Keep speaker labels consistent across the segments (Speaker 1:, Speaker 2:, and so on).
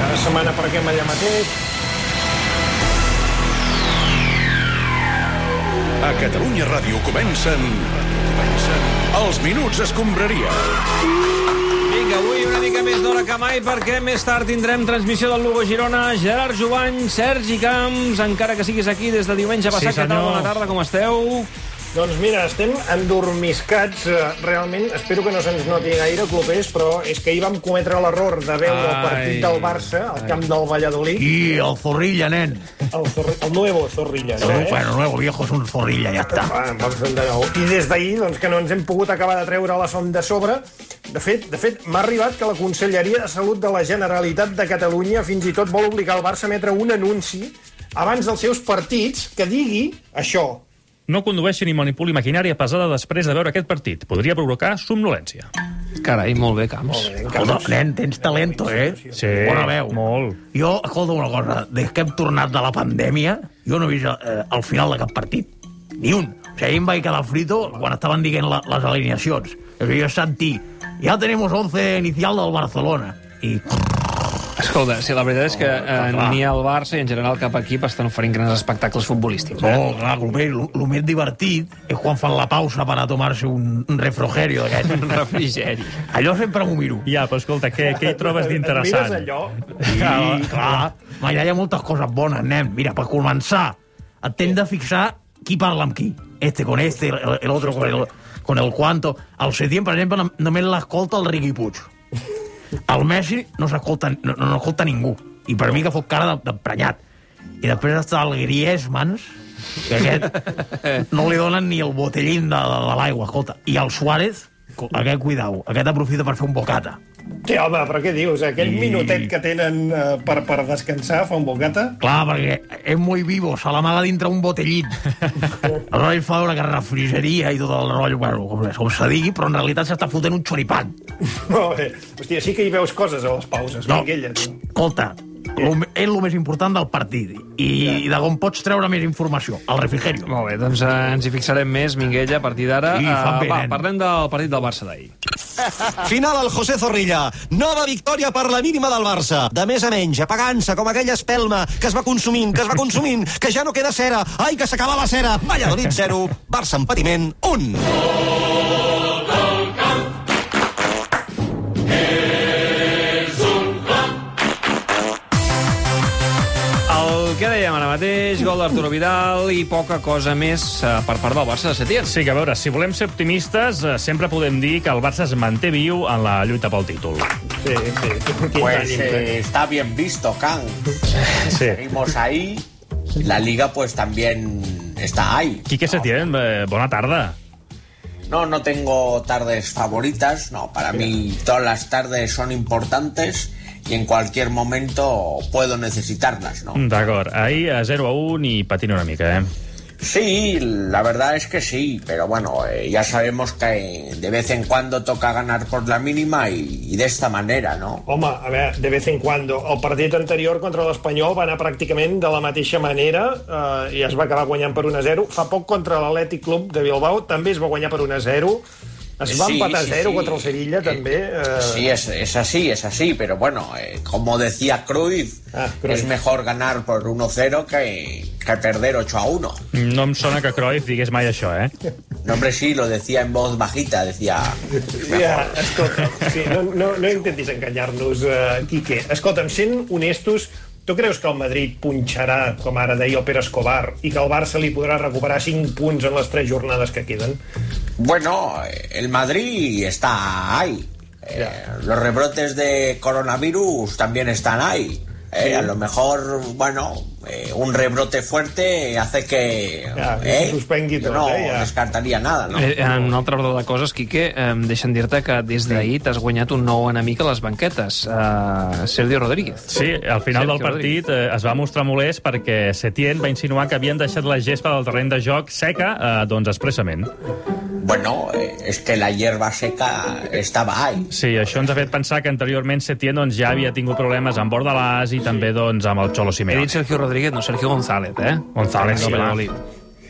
Speaker 1: Cada setmana aparquem allà mateix.
Speaker 2: A Catalunya Ràdio comencen... comencen els Minuts Escombraria.
Speaker 3: Vinga, avui una mica més d'hora que mai, perquè més tard tindrem transmissió del Lugo Girona, Gerard Jovany, Sergi Camps, encara que siguis aquí des de diumenge passat. Què tal?
Speaker 4: senyor.
Speaker 3: Bona tarda, com esteu?
Speaker 1: Doncs mira, estem endormiscats, eh, realment. Espero que no se'ns noti gaire, clubers, però és que ahir vam cometre l'error de veure el
Speaker 4: Ai.
Speaker 1: partit del Barça al camp del Valladolid.
Speaker 5: Y el Zorrilla, nen.
Speaker 1: El, Zorri... el nuevo Zorrilla, no, eh?
Speaker 5: Bueno, nuevo viejo es un Zorrilla, ya está.
Speaker 1: Ah, en vam fer un de nou. I des d'ahir, doncs, que no ens hem pogut acabar de treure la son de sobre, de fet, de fet m'ha arribat que la Conselleria de Salut de la Generalitat de Catalunya fins i tot vol obligar el Barça a emetre un anunci abans dels seus partits que digui això.
Speaker 4: No condueixi ni manipuli maquinària pesada després de veure aquest partit. Podria provocar somnolència.
Speaker 6: Carai, molt bé, Camps.
Speaker 5: Escolta, nen, tens talento, eh?
Speaker 4: Sí,
Speaker 5: Bona veu.
Speaker 4: molt.
Speaker 5: Jo, escolta una cosa, des que hem tornat de la pandèmia, jo no he vist eh, el final de cap partit. Ni un. O sigui, ahir em vaig quedar frito quan estaven dient la, les alineacions. O sigui, jo sentí, ja tenemos 11 inicial del Barcelona. I Oh,
Speaker 6: Escolta, sí, la veritat és que eh,
Speaker 5: clar.
Speaker 6: ni el Barça i en general cap equip estan oferint grans espectacles futbolístics. Eh?
Speaker 5: No, Oh, clar, el més, el més divertit és quan fan la pausa per a tomar-se un, un refrogerio d'aquest.
Speaker 6: Un refrigeri.
Speaker 5: Allò sempre m'ho miro.
Speaker 4: Ja, però escolta, què, què hi trobes
Speaker 1: Mires
Speaker 4: d'interessant?
Speaker 1: allò?
Speaker 5: Sí, clar. Ma, allà hi ha moltes coses bones, nen. Mira, per començar, et t'hem de fixar qui parla amb qui. Este con este, el, el otro con el, con el cuanto. El Setién, per exemple, nom- només l'escolta el Riqui Puig. El Messi no s'escolta no, no escolta ningú. I per mi que fot cara de- d'emprenyat. I després està el Griezmans, que aquest no li donen ni el botellín de, de, de l'aigua, escolta. I el Suárez, aquest, cuidau, aquest aprofita per fer un bocata.
Speaker 1: Sí, home, però què dius? Aquell
Speaker 5: I-
Speaker 1: minutet que tenen eh, per, per descansar, fa un bocata...
Speaker 5: Clar, perquè és molt vivo, se l'amaga dintre un botellín. Aleshores fa veure que refrigeria i tot el rotllo, bueno, com, com se digui, però en realitat s'està fotent un xoripan.
Speaker 1: Molt bé. Hòstia, sí que hi veus coses a les pauses, no. aquella, tu.
Speaker 5: escolta, lo, és el més important del partit i, i de on pots treure més informació, el refrigerio.
Speaker 6: Molt bé, doncs eh, ens hi fixarem més, Minguella, a partir d'ara. Eh,
Speaker 5: Sí, fa bé,
Speaker 6: va,
Speaker 5: nen.
Speaker 6: parlem del partit del Barça d'ahir.
Speaker 7: Final al José Zorrilla. Nova victòria per la mínima del Barça. De més a menys, apagant-se com aquella espelma que es va consumint, que es va consumint, que ja no queda cera. Ai, que s'acaba la cera. Valladolid 0, Barça en patiment 1.
Speaker 6: El que dèiem ara mateix, gol d'Arturo Vidal i poca cosa més eh, per part del Barça de Setién.
Speaker 4: Sí, que a veure, si volem ser optimistes, eh, sempre podem dir que el Barça es manté viu en la lluita pel títol.
Speaker 1: Sí, sí. Quins
Speaker 8: Pues
Speaker 1: ànims,
Speaker 8: eh, está bien visto, Kang.
Speaker 4: Sí.
Speaker 8: Seguimos ahí. La liga pues también está ahí.
Speaker 4: Quique Setién, eh, bona tarda.
Speaker 8: No, no tengo tardes favoritas. No, para mí todas las tardes son importantes y en cualquier momento puedo necesitarlas,
Speaker 4: Mm,
Speaker 8: ¿no?
Speaker 4: D'acord, ahir a 0 a 1 i patint una mica, eh?
Speaker 8: Sí, la verdad es que sí, pero bueno, eh, ya sabemos que de vez en cuando toca ganar por la mínima y- y de esta manera, ¿no?
Speaker 1: Home, a veure, de vez en cuando. El partit anterior contra l'Espanyol va anar pràcticament de la mateixa manera eh, i es va acabar guanyant per 1-0. Fa poc contra l'Atlètic Club de Bilbao també es va guanyar per 1-0. Es va
Speaker 8: Sí,
Speaker 1: empatar
Speaker 8: sí,
Speaker 1: 0
Speaker 8: sí.
Speaker 1: contra el Sevilla,
Speaker 8: Eh,
Speaker 1: també. Eh,
Speaker 8: Sí, es, es así, es así, pero bueno, eh, como decía Cruyff,
Speaker 1: Ah, Cruyff.
Speaker 8: es mejor ganar por 1-0 que, que perder 8-1.
Speaker 4: No em sona que Cruyff digués mai això, eh?
Speaker 8: No, hombre, sí, lo decía en voz bajita, decía...
Speaker 1: Ja, escolta, sí, no, no, no intentis enganyar-nos, eh, Quique. Escolta'm, sent honestos, tu creus que el Madrid punxarà, com ara deia el Pere Escobar, i que el Barça li podrà recuperar 5 punts en les 3 jornades que queden?
Speaker 8: Bueno, eh, el Madrid está ahí. Eh, los rebrotes de coronavirus también están ahí. Eh, A lo mejor, bueno, eh, un rebrote fuerte hace que...
Speaker 1: Ya,
Speaker 8: eh,
Speaker 1: se suspengui
Speaker 8: yo
Speaker 1: todo,
Speaker 8: no
Speaker 1: eh, ya.
Speaker 8: descartaría nada, ¿no?
Speaker 6: Eh, en una altra ordre de coses, Quique, eh, deixa'm dir-te que des d'ahir t'has guanyat un nou enemic a les banquetes, eh, Sergio Rodríguez.
Speaker 4: Sí, al final del partit eh, es va mostrar molest perquè Setién va insinuar que havien deixat la gespa del terreny de joc seca, eh, doncs expressament.
Speaker 8: Bueno, eh, es que la hierba seca estaba ahí.
Speaker 4: Sí, això ens ha fet pensar que anteriorment Setién doncs, ja havia tingut problemes amb Bordalàs i també doncs, amb el Xolo
Speaker 6: He dit
Speaker 4: Simeone.
Speaker 6: Sergio Rodríguez, no Sergio González, eh?
Speaker 4: González,
Speaker 6: Del
Speaker 4: sí, va.
Speaker 6: Valladolid.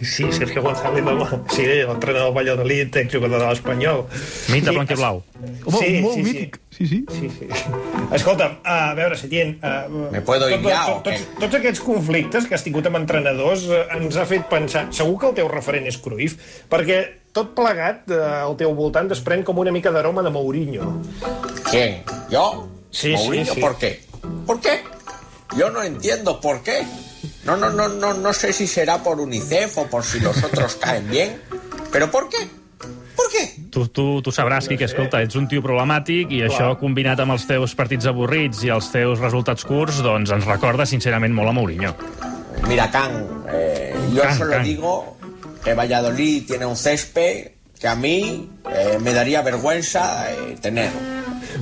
Speaker 1: Sí, Sergio González, home. Sí, entrenador Valladolid, exjugador de l'Espanyol.
Speaker 4: Mita
Speaker 1: I-
Speaker 4: blanc i blau.
Speaker 9: Home,
Speaker 1: Sí,
Speaker 9: molt
Speaker 1: sí, sí.
Speaker 9: mític. Sí, sí.
Speaker 1: Sí, sí. Escolta'm, a veure, Setién... Uh,
Speaker 8: Me puedo ir ja, o
Speaker 1: tots,
Speaker 8: què?
Speaker 1: tots aquests conflictes que has tingut amb entrenadors eh, ens ha fet pensar... Segur que el teu referent és Cruyff, perquè tot plegat eh, al teu voltant desprèn com una mica d'aroma de Mourinho.
Speaker 8: ¿Quién? ¿Yo?
Speaker 1: Sí,
Speaker 8: Mourinho,
Speaker 1: sí, sí.
Speaker 8: ¿por qué? ¿Por qué? Yo no entiendo por qué. No, no, no, no, no sé si será por UNICEF o por si los otros caen bien. ¿Pero por qué? ¿Por qué?
Speaker 4: Tu, tu, tu sabràs, Quique, escolta, ets un tio problemàtic i això, combinat amb els teus partits avorrits i els teus resultats curts, doncs ens recorda sincerament molt a Mourinho.
Speaker 8: Mira, Can, eh, yo
Speaker 4: Can,
Speaker 8: solo
Speaker 4: Can.
Speaker 8: digo que Valladolid tiene un césped que a mí eh, me daría vergüenza eh, tener.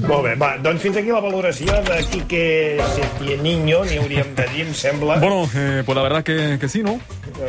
Speaker 1: Molt bé, va, doncs fins aquí la valoració de Quique Setieniño, n'hi hauríem de dir, em sembla. Eh,
Speaker 10: Bueno, eh, pues la verdad que, que sí, ¿no?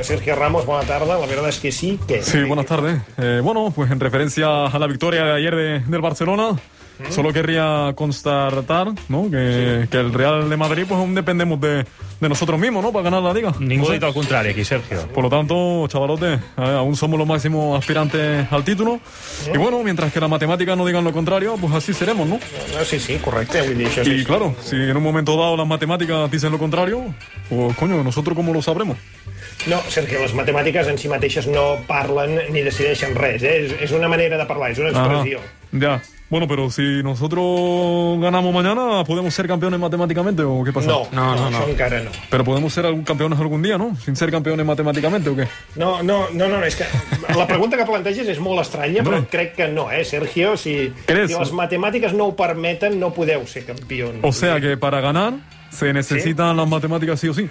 Speaker 1: Sergio Ramos, bona tarda, la verdad es que sí, que...
Speaker 10: Sí, buenas tardes. Eh, bueno, pues en referencia a la victoria de ayer de- del Barcelona,
Speaker 1: Mm.
Speaker 10: solo querría constatar ¿no? que, que el Real de Madrid, pues aún dependemos de, de nosotros mismos, ¿no? Para ganar la liga.
Speaker 4: Ningú ha
Speaker 10: Entonces,
Speaker 4: dit el contrari aquí, Sergio.
Speaker 10: Por lo tanto, chavalote, eh, aún somos los máximos aspirantes al título. Y bueno, mientras que las matemáticas no digan lo contrario, pues así seremos, ¿no?
Speaker 1: No, Ah, sí, sí, correcte, vull dir, això sí.
Speaker 10: Y claro, si en un momento dado las matemáticas dicen lo contrario, pues coño, ¿nosotros cómo lo sabremos?
Speaker 1: No, Sergio, les matemàtiques en si mateixes no parlen ni decideixen res, eh? És, és una manera de parlar, és una
Speaker 10: Ajá,
Speaker 1: expressió.
Speaker 10: ya. Bueno, pero si nosotros ganamos mañana, ¿podemos ser campeones matemáticamente o qué pasa?
Speaker 1: No,
Speaker 6: No, no, no.
Speaker 1: això encara no.
Speaker 10: Pero podemos ser algún campeones algún día, ¿no? Sin ser campeones matemáticamente o qué.
Speaker 1: No, no, no, no, és que la pregunta que planteges és molt estranya, però
Speaker 10: No.
Speaker 1: crec que no, eh, Sergio? Si,
Speaker 10: Creus?
Speaker 1: si les matemàtiques no ho permeten, no podeu ser campions.
Speaker 10: O sea que para ganar se necesitan las matemáticas sí o sí.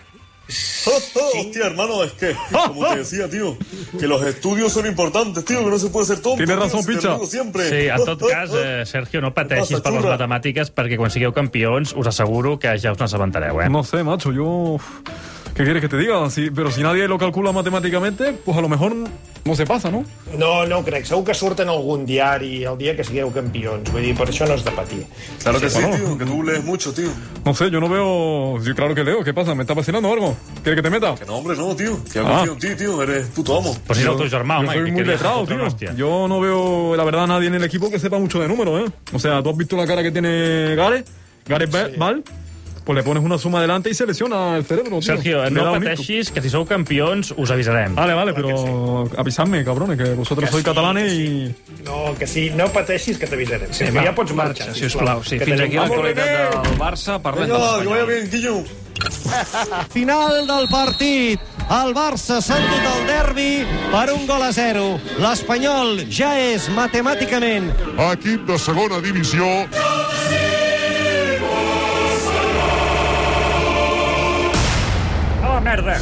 Speaker 11: Hostia, hermano, es que, como te decía, tío, que los estudios son importantes, tío, que no se puede ser tonto.
Speaker 10: Tienes
Speaker 11: tío,
Speaker 10: razón,
Speaker 11: si te lo
Speaker 10: Picha.
Speaker 11: digo Siempre.
Speaker 4: Sí, en tot cas, eh, Sergio, no pateixis per les matemàtiques perquè quan sigueu campions us asseguro que ja us n'assabentareu, eh?
Speaker 10: No sé, macho, yo... ¿Qué quieres que te diga? Sí, pero si nadie lo calcula matemáticamente, pues a lo mejor no se pasa, ¿no?
Speaker 1: No, no ho crec. Segur que surten algun diari el dia que sigueu campions. Vull dir, per això no has de patir.
Speaker 11: Claro que sí,
Speaker 10: bueno.
Speaker 11: tío, que tú lees mucho, tío.
Speaker 10: No sé, yo no veo... Yo claro que leo, ¿qué pasa? ¿Me está vacilando o algo? ¿Quieres que te meta?
Speaker 11: Que no, hombre, no, tío. Que yo
Speaker 10: Ah.
Speaker 11: confío en ti, tío, eres puto amo.
Speaker 4: Però si és el teu germà,
Speaker 10: Yo
Speaker 4: home,
Speaker 10: soy
Speaker 4: que
Speaker 10: muy
Speaker 4: queries
Speaker 10: letrado,
Speaker 4: fotre
Speaker 10: tío.
Speaker 4: una hòstia.
Speaker 10: Yo no veo, la verdad, a nadie en el equipo que sepa mucho de números, ¿eh? O sea, tú has visto la cara que tiene Gareth, Gareth Ba- Bale, pues le pones una suma adelante y se lesiona el cerebro, tío.
Speaker 4: Sergio,
Speaker 10: Le
Speaker 4: no
Speaker 10: da un ictus.
Speaker 4: pateixis, que si sou campions us avisarem.
Speaker 10: Vale, vale, pero avisadme, cabrones, que vosotros
Speaker 1: Que
Speaker 10: sois
Speaker 1: sí,
Speaker 10: catalanes
Speaker 1: que
Speaker 10: y...
Speaker 1: No, que sí, no pateixis que t'avisarem. Sí,
Speaker 6: va,
Speaker 1: ja pots marxar,
Speaker 6: Si us plau, sí,
Speaker 1: que
Speaker 6: fins
Speaker 1: tenim
Speaker 6: aquí la
Speaker 1: molt de
Speaker 6: qualitat del Barça. Parlem de
Speaker 11: Venga, que vaya
Speaker 6: l'Espanyol.
Speaker 11: bien, Guillo.
Speaker 7: Final del partit. El Barça s'ha endut el derbi per un gol a zero. L'Espanyol ja és matemàticament
Speaker 12: equip de segona divisió.
Speaker 4: A la merda!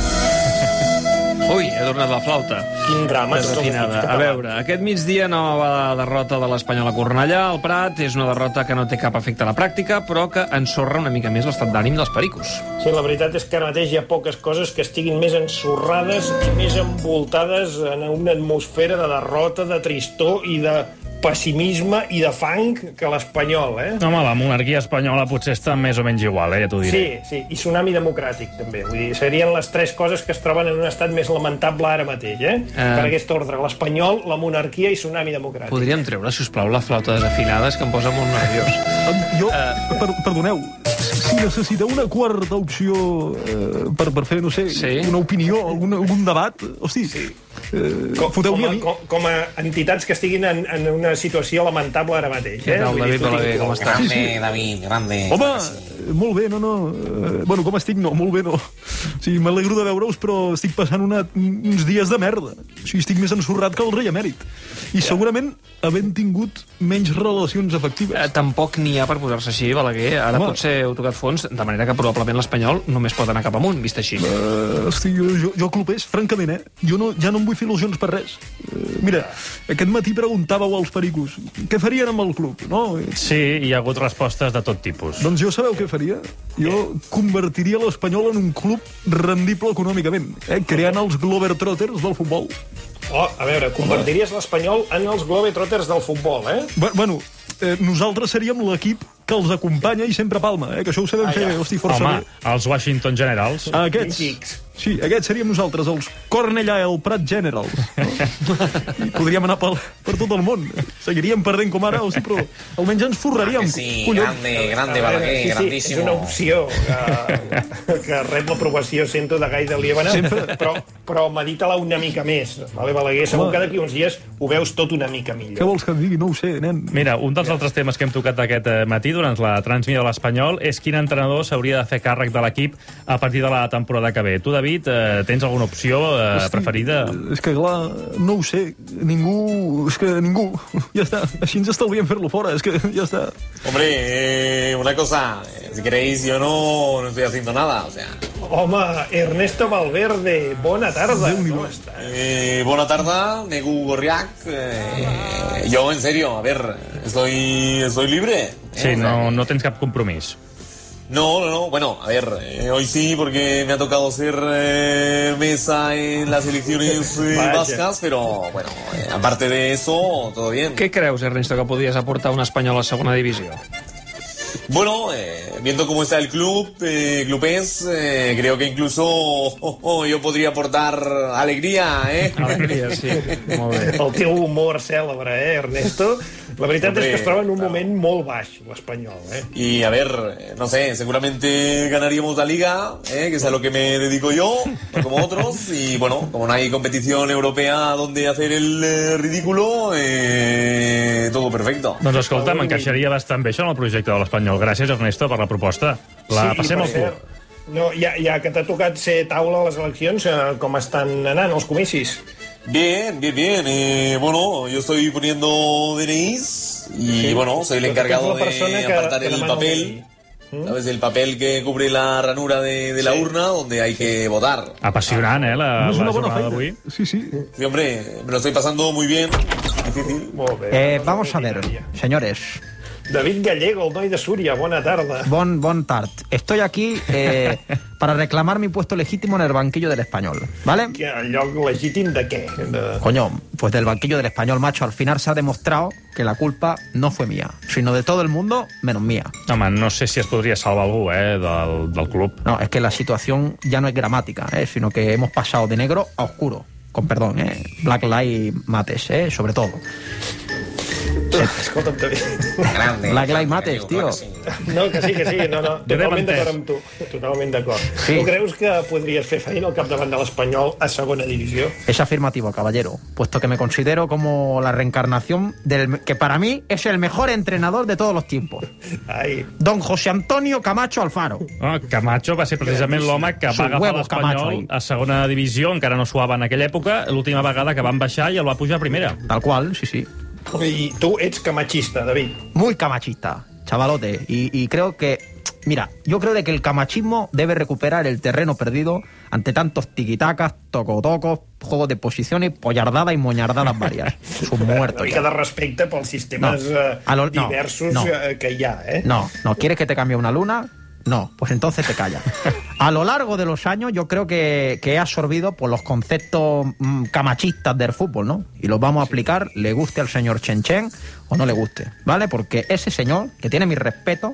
Speaker 6: Ui, he tornat la flauta.
Speaker 1: Quin drama. tots els
Speaker 6: Desafinada.
Speaker 1: equips
Speaker 6: A
Speaker 1: catalans.
Speaker 6: veure, aquest migdia nova derrota de l'Espanyol a Cornellà, al Prat, és una derrota que no té cap efecte a la pràctica, però que ensorra una mica més l'estat d'ànim dels pericos.
Speaker 1: Sí, la veritat és que ara mateix hi ha poques coses que estiguin més ensorrades i més envoltades en una atmosfera de derrota, de tristor i de pessimisme i de fang que l'espanyol, eh?
Speaker 4: Home, la monarquia espanyola potser està més o menys igual, eh, ja t'ho diré.
Speaker 1: Sí, sí, i tsunami democràtic, també. Vull dir, serien les tres coses que es troben en un estat més lamentable ara mateix, eh? Per aquest ordre, l'espanyol, la monarquia i tsunami democràtic.
Speaker 6: Podríem treure, si us plau, la flauta desafinada, és que em posa molt nerviós.
Speaker 9: Jo,
Speaker 1: Eh.
Speaker 9: per, perdoneu, si necessiteu una quarta opció eh, per, per fer, no sé,
Speaker 6: Sí.
Speaker 9: una opinió, algun, algun debat, hosti, sí. eh,
Speaker 1: Com, com,
Speaker 9: foteu-m'hi
Speaker 1: a,
Speaker 9: a mi.
Speaker 1: com, com a entitats que estiguin en, en una situació lamentable ara mateix.
Speaker 6: Què
Speaker 1: Eh?
Speaker 6: tal,
Speaker 1: Vull dir,
Speaker 6: David
Speaker 1: tot
Speaker 6: Balaguer, com
Speaker 1: inclou.
Speaker 6: estàs?
Speaker 8: Grande, David, grande.
Speaker 9: Home, eh, molt bé, no, no. eh, Bueno, com estic? No, molt bé, no. O sigui, m'alegro de veure-us, però estic passant una, uns dies de merda. O sigui, estic més ensorrat que el rei emèrit. I segurament havent tingut menys relacions afectives.
Speaker 6: Eh, Tampoc n'hi ha per posar-se així, Balaguer. Ara
Speaker 9: Home.
Speaker 6: potser heu tocat fons, de manera que probablement l'Espanyol només pot anar cap amunt, vist així.
Speaker 11: Eh,
Speaker 9: Uh, hosti, jo, jo, jo clopés, francament, eh? Jo no, ja no em vull fer il·lusions per res. Uh, mira, aquest matí preguntàveu als pericos què farien amb el club, no?
Speaker 4: Sí, hi ha hagut respostes de tot tipus.
Speaker 9: Doncs jo sabeu què faria? Jo convertiria l'Espanyol en un club rendible econòmicament, eh? creant els Glover Trotters del futbol.
Speaker 1: Oh, a veure, convertiries l'Espanyol en els Globetrotters del futbol, eh?
Speaker 9: Bu- Bueno, eh, nosaltres seríem l'equip que els acompanya i sempre palma, eh? que això ho
Speaker 13: Ah,
Speaker 9: sabem fer, hosti, força
Speaker 4: Home,
Speaker 9: bé.
Speaker 4: els Washington Generals.
Speaker 9: Aquests, sí, aquests seríem nosaltres, els Cornellà, el Prat Generals. No? I podríem anar pel, per tot el món. Seguiríem perdent com ara, hosti, però almenys ens forraríem.
Speaker 13: Ah, Sí,
Speaker 9: collons.
Speaker 13: grande,
Speaker 1: A
Speaker 13: grande
Speaker 1: veure,
Speaker 13: Balaguer, grandísimo.
Speaker 1: És una opció que, que rep l'aprovació, sento, de Gai de Liebana, però, però medita-la una mica més. Vale, Balaguer, segur
Speaker 9: Home.
Speaker 1: que d'aquí uns dies ho veus tot una mica millor.
Speaker 9: Què vols que et digui? No ho sé, nen.
Speaker 4: Mira, un dels altres temes que hem tocat aquest eh, matí durant la transmissió de l'Espanyol és quin entrenador s'hauria de fer càrrec de l'equip a partir de la temporada que ve. Tu, David, eh, tens alguna opció eh, preferida?
Speaker 9: És que, clar, no ho sé. Ningú... És que ningú. Ja està. Així ens estalviem fer-lo fora. És que ja està.
Speaker 11: Hombre, eh, una cosa, eh, si queréis, yo no, no estoy haciendo nada, o sea.
Speaker 1: Home, Ernesto Valverde, bona tarda. Com estàs?
Speaker 11: Eh, buena tarde, Negu Gorriak. eh, yo, en serio, a ver, estoy, estoy libre. eh,
Speaker 4: Sí, no, no tens cap compromís.
Speaker 11: No, no, no. Bueno, a ver, eh, hoy sí, porque me ha tocado ser eh, mesa en las elecciones eh,
Speaker 6: Vaya.
Speaker 11: vascas, pero bueno, eh, aparte de eso, todo bien.
Speaker 6: Què creus, Ernesto, que podies aportar un espanyol a segona divisió?
Speaker 11: Bueno, eh, viendo cómo está el club, eh, clubes, eh, creo que incluso oh, oh, yo podría aportar alegría, ¿eh?
Speaker 6: Alegría, sí. Molt bé.
Speaker 1: El teu humor cèlebre, eh, Ernesto? La veritat
Speaker 11: Hombre,
Speaker 1: és que es troba en un moment molt baix, l'Espanyol, eh?
Speaker 11: Y a ver, eh, no sé, seguramente ganaríamos la liga, ¿eh? que es a lo que me dedico yo, no como otros. Y bueno, como no hay competición europea donde hacer el eh, ridículo, eh, todo perfecto.
Speaker 4: Doncs escolta, m'encaixaria bastant bé això en el projecte de l'Espanyol. Gràcies, Ernesto, per la proposta. La
Speaker 1: i
Speaker 4: passem
Speaker 1: per
Speaker 4: al
Speaker 1: cert,
Speaker 4: club.
Speaker 1: No, ja, ja que t'ha tocat ser taula a les eleccions, eh, com estan anant els comicis?
Speaker 11: Bien, bien, bien. eh, bueno, yo estoy poniendo DNIs y
Speaker 1: Sí.
Speaker 11: bueno, soy el
Speaker 1: Pero tú eres
Speaker 11: encargado
Speaker 1: la persona
Speaker 11: de
Speaker 1: que-
Speaker 11: apartar
Speaker 1: que
Speaker 11: el
Speaker 1: demanda
Speaker 11: papel. ¿Sabes? El papel que cubre la ranura de, de la urna donde hay que votar.
Speaker 4: Apassionant, eh, la,
Speaker 9: No és
Speaker 4: la
Speaker 9: una bona
Speaker 4: jornada
Speaker 9: feina.
Speaker 4: d'avui.
Speaker 9: Sí, sí.
Speaker 11: Sí, hombre, me lo estoy pasando muy bien. Difícil.
Speaker 1: Molt bé.
Speaker 14: Eh, vamos a ver, señores.
Speaker 1: David Gallego, el noi de Súria, bona tarda.
Speaker 14: Bon, bon tard. Estoy aquí eh, para reclamar mi puesto legítimo en el banquillo del español, ¿vale?
Speaker 1: Que el lloc legítim de què? De...
Speaker 14: Coño, pues del banquillo del español, macho. Al final se ha demostrado que la culpa no fue mía, sino de todo el mundo menos mía.
Speaker 4: Home, no sé si es podria salvar algú, eh, del, del club.
Speaker 14: No, es que la situación ya no es gramática, ¿eh? sino que hemos pasado de negro a oscuro. Con perdón, ¿eh? Black Lives Matters, ¿eh? sobre todo.
Speaker 1: Escolta'm, David.
Speaker 13: Grande.
Speaker 14: Black
Speaker 13: grande,
Speaker 14: Lives Matter,
Speaker 13: amigo, claro
Speaker 14: tío.
Speaker 13: que sí.
Speaker 1: No, que sí, que sí, no, no,
Speaker 4: Jo t'he
Speaker 1: totalment
Speaker 4: entès.
Speaker 1: d'acord amb tu. Totalment d'acord.
Speaker 14: Sí.
Speaker 1: Tu creus que podries fer feina al capdavant de l'Espanyol a segona divisió?
Speaker 14: Es afirmativo, caballero, puesto que me considero como la reencarnación del que para mí es el mejor entrenador de todos los tiempos.
Speaker 1: Ai,
Speaker 14: Don José Antonio Camacho Alfaro.
Speaker 4: Ah, Camacho va ser precisament l'home que
Speaker 14: Sus
Speaker 4: va agafar
Speaker 14: huevos,
Speaker 4: l'Espanyol
Speaker 14: Camacho.
Speaker 4: a segona divisió, encara no suava en aquella època, l'última vegada que van baixar i el va pujar a primera.
Speaker 14: Tal cual, sí, sí.
Speaker 1: I tu ets camachista, David.
Speaker 14: Muy camachista, chavalote. Y, y creo que, mira, yo creo de que el camachismo debe recuperar el terreno perdido ante tantos tiquitacas, tocotocos, juegos de posiciones, pollardadas y moñardadas varias. Es un muerto.
Speaker 1: Una
Speaker 14: ya.
Speaker 1: mica de respecte pels sistemes
Speaker 14: No.
Speaker 1: eh,
Speaker 14: A lo- no,
Speaker 1: diversos
Speaker 14: no.
Speaker 1: eh, que hi ha, eh?
Speaker 14: No, no. ¿Quieres que te cambie una luna? No, pues entonces te callas. A lo largo de los años yo creo que, que he absorbido por los conceptos mm, camachistas del fútbol, ¿no? Y los vamos a aplicar, le guste al señor Chen Chen o no le guste, ¿vale? Porque ese señor, que tiene mi respeto,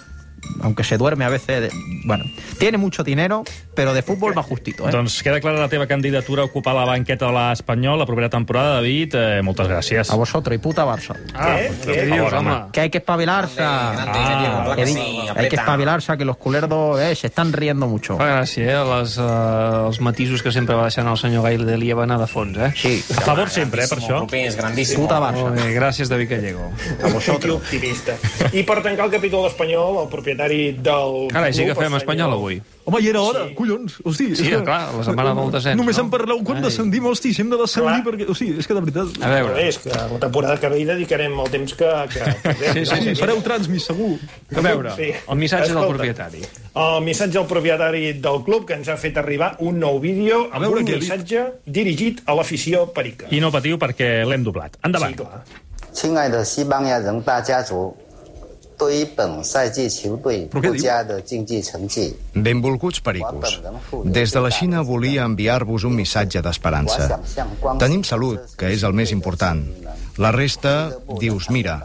Speaker 14: aunque se duerme a veces, de- bueno, tiene mucho dinero, pero de fútbol va justito, ¿eh?
Speaker 4: Doncs queda clara la teva candidatura a ocupar la banqueta de l'Espanyol la propera temporada, David. Eh, moltes gràcies.
Speaker 14: A vosotros y puta Barça.
Speaker 4: Ah,
Speaker 1: Què?
Speaker 4: pues,
Speaker 1: Què
Speaker 4: per favor,
Speaker 1: dius,
Speaker 4: home.
Speaker 14: Que hay que espabilarse.
Speaker 13: Grande, grande,
Speaker 4: Ah,
Speaker 13: claro
Speaker 14: He
Speaker 13: que
Speaker 14: dicho,
Speaker 13: sí,
Speaker 14: hay que
Speaker 13: aprieta.
Speaker 14: espabilarse, que los culerdos eh, se están riendo mucho.
Speaker 6: Fa gràcia, eh? Les, eh, els matisos que sempre va deixant el senyor Gail de Liebana de fons, eh?
Speaker 14: Sí,
Speaker 4: A favor sempre, eh, per
Speaker 13: Grandísimo,
Speaker 4: això.
Speaker 13: Clupés, grandísimo.
Speaker 14: puta Barça.
Speaker 6: Molt bé, gràcies, David Gallego.
Speaker 1: A vosaltres. optimista. I per tancar el capítol espanyol, el propietari del...
Speaker 6: Carai, sí que
Speaker 1: club, el
Speaker 6: fem
Speaker 1: senyor-
Speaker 6: espanyol avui.
Speaker 9: Home, i era hora, sí. collons. Hosti, és
Speaker 6: Sí,
Speaker 9: que...
Speaker 6: clar, la setmana del descens,
Speaker 9: Només
Speaker 6: no?
Speaker 9: en parleu quan
Speaker 6: Ai.
Speaker 9: descendim, hosti, si hem de
Speaker 1: Clar.
Speaker 9: descendir, perquè... Hosti, és que de veritat...
Speaker 6: A
Speaker 1: Però
Speaker 6: veure,
Speaker 1: és que la temporada que ve hi dedicarem el temps que... que, que
Speaker 6: Sí, sí,
Speaker 9: Sí, fareu transmis, segur.
Speaker 6: a veure,
Speaker 1: Sí.
Speaker 6: el missatge del
Speaker 1: Escolta.
Speaker 6: propietari.
Speaker 1: El missatge al propietari del club que ens ha fet arribar un nou vídeo
Speaker 9: A
Speaker 1: amb
Speaker 9: veure
Speaker 1: un
Speaker 9: què ha dit.
Speaker 1: missatge dirigit a l'afició perica.
Speaker 4: I no patiu perquè l'hem doblat. Endavant.
Speaker 1: Sí, clar.
Speaker 15: 亲爱的西班牙人大家族，对于本赛季球队不佳的竞技成绩，
Speaker 16: Benvolguts pericos. Des de la Xina volia enviar-vos un missatge d'esperança. Tenim salut, que és el més important. La resta dius mira.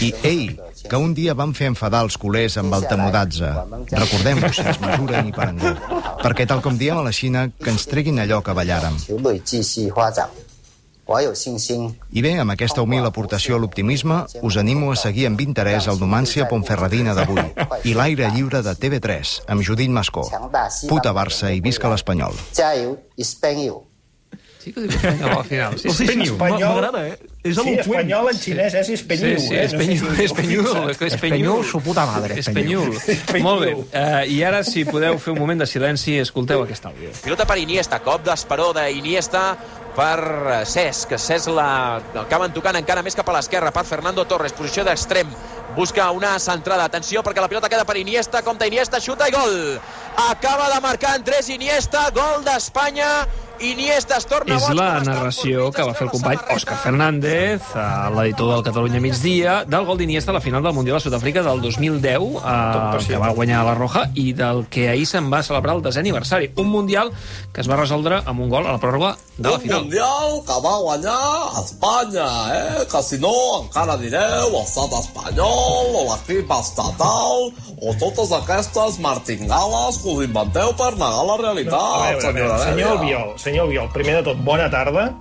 Speaker 16: I ei, que un dia van fer enfadar els culers amb el tamodatze. Recordem-ho, si es mesura ni per engol. Perquè, tal com diem a la Xina, que ens treguin allò que ballàrem.
Speaker 15: 球队继续发展。我有信心，
Speaker 16: I bé, amb aquesta humil aportació a l'optimisme, us animo a seguir amb interès el Numància Ponferradina d'avui i l'aire lliure de TV3, amb Judit Mascó. Puta Barça i visca l'Espanyol.
Speaker 15: 加油，Espanol！
Speaker 6: Sí que ho diu
Speaker 15: 哦
Speaker 6: espanyol al final. Sí,
Speaker 1: espanyol. M'agrada, eh? És sí, espanyol en xinès és espanyol,
Speaker 6: sí, sí,
Speaker 1: eh?
Speaker 6: espanyol,
Speaker 1: No sé si
Speaker 6: espanyol,
Speaker 1: ho heu
Speaker 6: és que
Speaker 1: fixat.
Speaker 6: espanyol. Espanyol, su
Speaker 17: puta madre,
Speaker 6: Espanyol. Molt bé. Uh, I ara, si podeu fer un moment de silenci, escolteu aquest àudio.
Speaker 18: Pilota per Iniesta, cop d'esperó d'Iniesta per Cesc. Cesc la, acaben tocant encara més cap a l'esquerra per Fernando Torres, posició d'extrem. Busca una centrada, atenció, perquè la pilota queda per Iniesta, compta Iniesta, xuta i gol. Acaba de marcar Andrés Iniesta, gol d'Espanya. Iniesta es torna
Speaker 6: És la narració que va fer el company Òscar Fernández, eh, l'editor del Catalunya Migdia, del gol d'Iniesta a la final del Mundial de Sud-àfrica del 2010, eh, que va guanyar la Roja, i del que ahir se'n va celebrar el desè aniversari. Un Mundial que es va resoldre amb un gol a la pròrroga de la
Speaker 19: Un
Speaker 6: final.
Speaker 19: mundial que va guanyar Espanya, eh? Que si no encara direu estat espanyol o l'equip estatal o totes aquestes martingales que us inventeu per negar
Speaker 1: No,
Speaker 19: la realitat,
Speaker 1: a veure, a veure,
Speaker 19: senyora
Speaker 1: senyor
Speaker 19: Heredia.
Speaker 1: Albiol, senyor Albiol, primer de tot, bona tarda.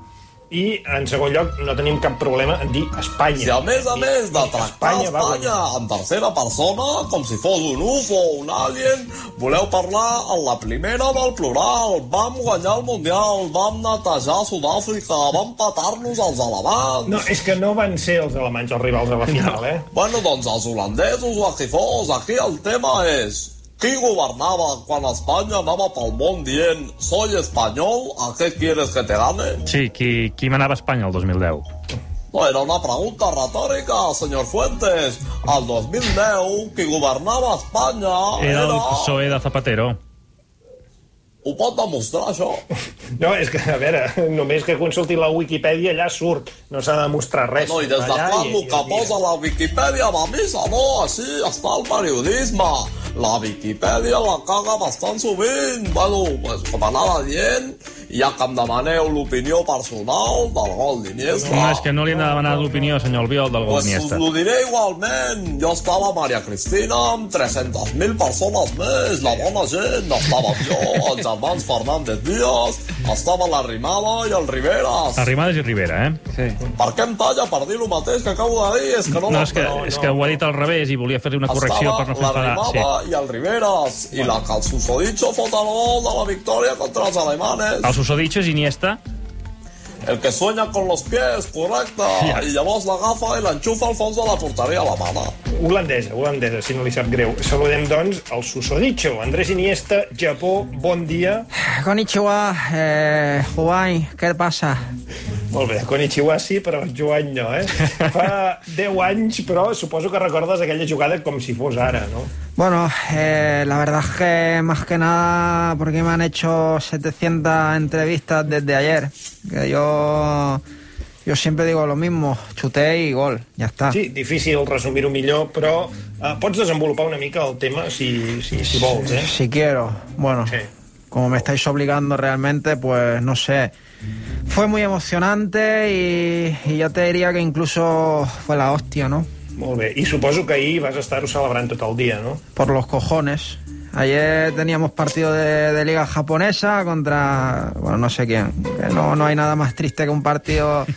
Speaker 1: I, en segon lloc, no tenim cap problema en dir Espanya.
Speaker 19: Si a més a més de tractar Espanya,
Speaker 1: va
Speaker 19: Espanya en tercera persona, com si fos un UFO o un alien, voleu parlar en la primera del plural. Vam guanyar el Mundial, vam netejar Sud-àfrica, vam patar-nos als alemans.
Speaker 1: No, és que no van ser els alemanys els rivals de la final, eh?
Speaker 19: Bueno, doncs els holandesos o els tifós, aquí el tema és qui governava quan Espanya anava pel món dient soy espanyol, ¿a qué quieres que te gane?
Speaker 4: Sí, qui, qui manava a Espanya el 2010?
Speaker 19: No, era una pregunta retòrica, senyor Fuentes. El 2010, qui governava Espanya
Speaker 4: Era el
Speaker 19: era...
Speaker 4: PSOE de Zapatero.
Speaker 19: Ho pot demostrar, això?
Speaker 1: No, és que, a veure, només que consulti la Wikipedia allà surt. No s'ha de mostrar res.
Speaker 19: No, i des de
Speaker 1: Allà
Speaker 19: quan
Speaker 1: i-
Speaker 19: el que posa la Viquipèdia va a missa, no? Així està el periodisme. La Viquipèdia la caga bastant sovint. Bueno, pues, com anava dient, ja que em demaneu l'opinió personal del gol d'Iniesta...
Speaker 4: No, és que no li hem de demanar l'opinió, senyor Albiol, del gol
Speaker 19: Pues
Speaker 4: d'Iniesta.
Speaker 19: us ho diré igualment. Jo estava a Maria Cristina amb 300.000 persones més. La bona gent estava jo, els germans Fernández Díaz, estava la Rimada i el Riveras.
Speaker 4: Arrimadas i Rivera, eh? Sí.
Speaker 19: Per què em talla per dir el mateix que acabo de dir? És que no,
Speaker 4: No, és que, és que ho ha dit al revés i volia fer-li una correcció per no fer
Speaker 19: la
Speaker 4: enfadar.
Speaker 19: Rimada
Speaker 4: Sí.
Speaker 19: i el Riveras i la que el susodicho fot el gol de la victòria contra els alemanes.
Speaker 4: El susodicho és Iniesta.
Speaker 19: El que sueña con los pies, correcte.
Speaker 1: Ja.
Speaker 19: I llavors l'agafa i l'enxufa al fons de la porteria alemana.
Speaker 1: Holandesa, holandesa, si no li sap greu. Saludem, doncs, el susodicho. Andrés Iniesta, Japó, bon dia.
Speaker 17: Ah, Konnichiwa, eh, Hawaii, què passa?
Speaker 1: Molt bé, Konichiwa sí, però Joan no, eh? Fa 10 anys, però suposo que recordes aquella jugada com si fos ara, no?
Speaker 17: Bueno, eh, la verdad es que más que nada porque me han hecho 700 entrevistas desde ayer. Que yo, yo siempre digo lo mismo, chuté y gol, ya está.
Speaker 1: Sí, difícil resumir-ho millor, però eh, pots desenvolupar una mica el tema si, si, si vols, eh?
Speaker 17: Si quiero, bueno, como me estáis obligando realmente, pues no sé. Fue muy emocionante y, y yo te diría que incluso fue la hostia, ¿no?
Speaker 1: Molt bé, i suposo que ahir vas estar-ho celebrant tot el dia, no?
Speaker 17: Por los cojones. Ayer teníamos partido de, de liga japonesa contra, bueno, no sé quién. Que No, no hay nada más triste que un partido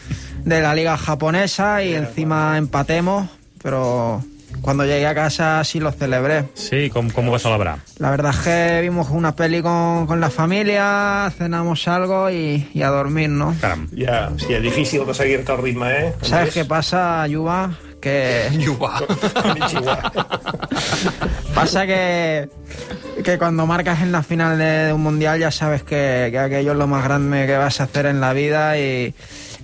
Speaker 17: de la liga japonesa y encima empatemos, pero cuando llegué a casa sí lo celebré.
Speaker 4: Sí, com, com ho va celebrar?
Speaker 17: La verdad es que vimos una peli con, con la familia, cenamos algo y, y a dormir, ¿no?
Speaker 4: Caram.
Speaker 1: Ja, hòstia, difícil de seguir-te el ritme, eh?
Speaker 17: ¿Sabes qué pasa, Yuba? Que...
Speaker 6: Yuba.
Speaker 17: pasa que, que cuando marcas en la final de, de un mundial ya sabes que, que aquello es lo más grande que vas a hacer en la vida y,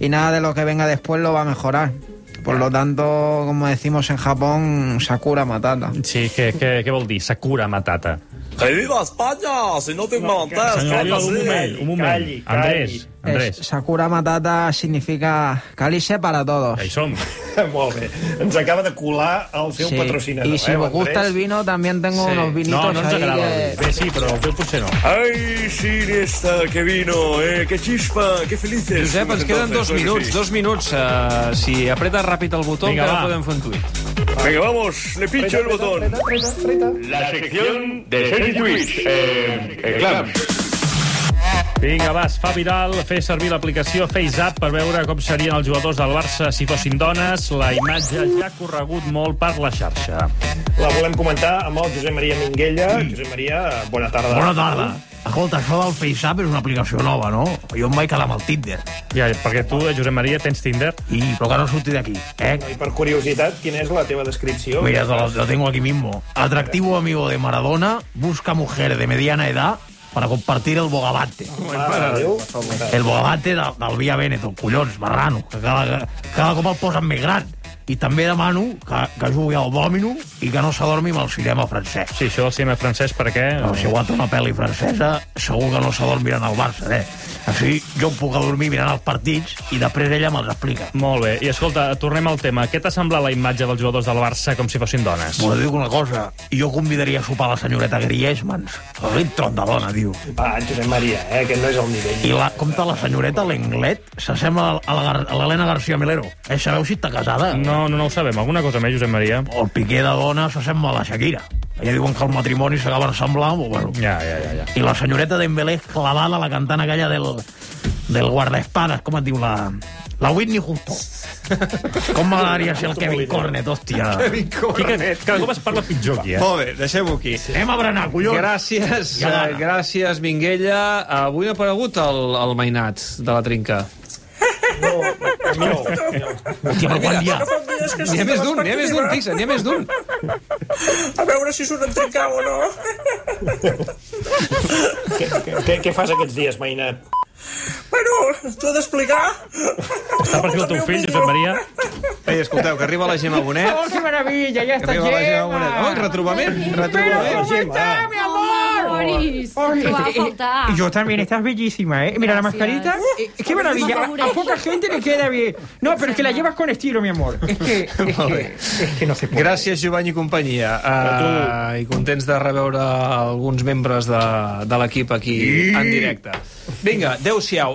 Speaker 17: y nada de lo que venga después lo va a mejorar. Por lo tanto, como decimos en Japón, Sakura Matata.
Speaker 4: Sí, què, què, què vol dir? Sakura Matata.
Speaker 19: Que viva Espanya, si no tinc no, mal
Speaker 4: Senyor
Speaker 19: entès. clar que
Speaker 4: Albiol, un
Speaker 19: sí.
Speaker 4: moment, un moment. Andrés, Andrés.
Speaker 20: Es- Sakura Matata significa calice para todos.
Speaker 4: Ahí som.
Speaker 1: Molt bé. Ens acaba de colar el seu
Speaker 20: Sí,
Speaker 1: patrocinador.
Speaker 20: y si
Speaker 1: eh,
Speaker 20: vos
Speaker 1: l'Andrés?
Speaker 20: gusta el vino, también tengo unos vinitos
Speaker 4: No, no ens
Speaker 20: ahí
Speaker 4: agrada.
Speaker 20: que...
Speaker 4: Bé, sí, però el teu potser no.
Speaker 19: ¡Ay, sí, esta, qué vino, eh! ¡Qué chispa! ¡Qué felices!
Speaker 6: Josep, ens queden dos
Speaker 19: Entonces,
Speaker 6: minuts,
Speaker 19: sí.
Speaker 6: dos minuts. Uh, si apretes ràpid el botó, Vinga,
Speaker 19: Vinga,
Speaker 6: encara
Speaker 19: va.
Speaker 6: podem fer un tuit.
Speaker 19: Venga, vamos, le pincho el botón.
Speaker 4: La sección
Speaker 19: de Sergi Twitch. Eh, eh, clar.
Speaker 4: Vinga, va, es fa viral fer servir l'aplicació FaceApp per veure com serien els jugadors del Barça si fossin dones. La imatge ja ha corregut molt per la xarxa.
Speaker 1: La volem comentar amb el Josep Maria Minguella. Josep Maria, bona tarda.
Speaker 5: Bona tarda. Escolta, això del FaceApp és una aplicació nova, no? Jo em vaig quedar amb el Tinder.
Speaker 4: Ja, perquè tu, Josep Maria, tens Tinder.
Speaker 5: I, però que no surti d'aquí, eh?
Speaker 1: I per curiositat, quina és la teva descripció?
Speaker 5: Mira, te lo, lo tengo aquí mismo. Atractivo amigo de Maradona, busca mujer de mediana edad para compartir el bogavante.
Speaker 1: Mare de Déu.
Speaker 5: El bogavante del, del Via Veneto, collons, marrano, que cada, cada cop el posen més gran. I també demano que, que jugui al dòmino i que no s'adormi amb el cinema francès.
Speaker 4: Sí, això del cinema francès, per què?
Speaker 5: No, si aguanta una pel·li francesa, segur que no s'adorm mirant el Barça, eh? Així jo em puc adormir mirant els partits i després ella me'ls explica.
Speaker 4: Molt bé. I escolta, tornem al tema. Què t'ha semblat la imatge dels jugadors del Barça com si fossin dones?
Speaker 5: M'ho dic una cosa, jo convidaria a sopar la senyoreta Griezmans. Ric tron de dona, diu.
Speaker 1: Va, Josep Maria, eh, aquest no és el nivell.
Speaker 5: I la, compte, la senyoreta, l'Englet, s'assembla a la Gar- a l'Helena García Milero. Eh, sabeu si està casada?
Speaker 4: No, no, no ho sabem. Alguna cosa més, Josep Maria?
Speaker 5: O el Piqué de dona s'assembla a la Shakira. Ella diuen que el matrimoni s'acaba ressemblant, però bueno.
Speaker 4: Ja, ja, ja. ja.
Speaker 5: I la senyoreta Dembélé és clavada a la cantant aquella del, del guardaespades, com et diu la... La Whitney Houston. Com m'agradaria ser el Kevin Cornet, hòstia.
Speaker 4: Kevin Cornet. Cada cop es parla pitjor aquí, eh?
Speaker 6: Molt bé, deixem-ho aquí.
Speaker 5: Anem a berenar, collons.
Speaker 6: Gràcies,
Speaker 5: Ja va.
Speaker 6: eh, gràcies, Minguella. Avui ha aparegut el, el mainat de la trinca.
Speaker 5: Hòstia, però quan hi ha?
Speaker 6: N'hi ha més d'un, n'hi ha més d'un, fixa, n'hi ha més d'un.
Speaker 8: A veure si surt entrencat o no.
Speaker 1: Què, què, què- què fas aquests dies, Mainat?
Speaker 8: Bueno, t'ho he d'explicar.
Speaker 4: Està per aquí el teu fill, Josep Maria?
Speaker 6: Ei, escolteu, que arriba la Gemma Bonet.
Speaker 20: ¡Oh, qué maravilla! ¡Ya
Speaker 6: Que
Speaker 20: está
Speaker 6: arriba la Gemma Bonet.
Speaker 20: Gemma!
Speaker 6: Oh, retrobament,
Speaker 20: Pero
Speaker 6: retrobament.
Speaker 20: ¿cómo está, mi amor?
Speaker 21: Boris,
Speaker 20: Ay,
Speaker 21: te va a
Speaker 20: eh, eh,
Speaker 21: faltar.
Speaker 20: Y yo también, estás bellísima, ¿eh? Mira la
Speaker 21: Gracias.
Speaker 20: mascarita. Eh, ¡Qué maravilla! A, a poca gente le queda bien. No, pero es que la llevas con estilo, mi amor. Es que... Es
Speaker 6: Molt
Speaker 20: que
Speaker 6: bé. Gràcies, Jovany i companyia. Uh, I contents de reveure alguns membres de, de l'equip aquí en directe. Vinga, adeu-siau.